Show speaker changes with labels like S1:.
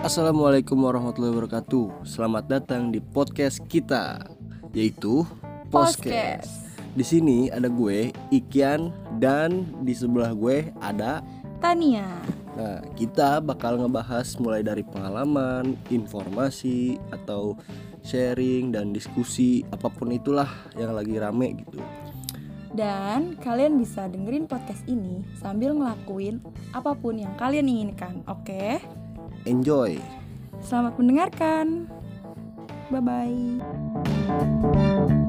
S1: Assalamualaikum warahmatullahi wabarakatuh. Selamat datang di podcast kita, yaitu Podcast.
S2: Podcast.
S1: Di sini ada gue Ikian dan di sebelah gue ada.
S2: Tania.
S1: Nah, kita bakal ngebahas mulai dari pengalaman, informasi atau sharing dan diskusi apapun itulah yang lagi rame gitu.
S2: Dan kalian bisa dengerin podcast ini sambil ngelakuin apapun yang kalian inginkan, oke?
S1: Enjoy.
S2: Selamat mendengarkan. Bye bye.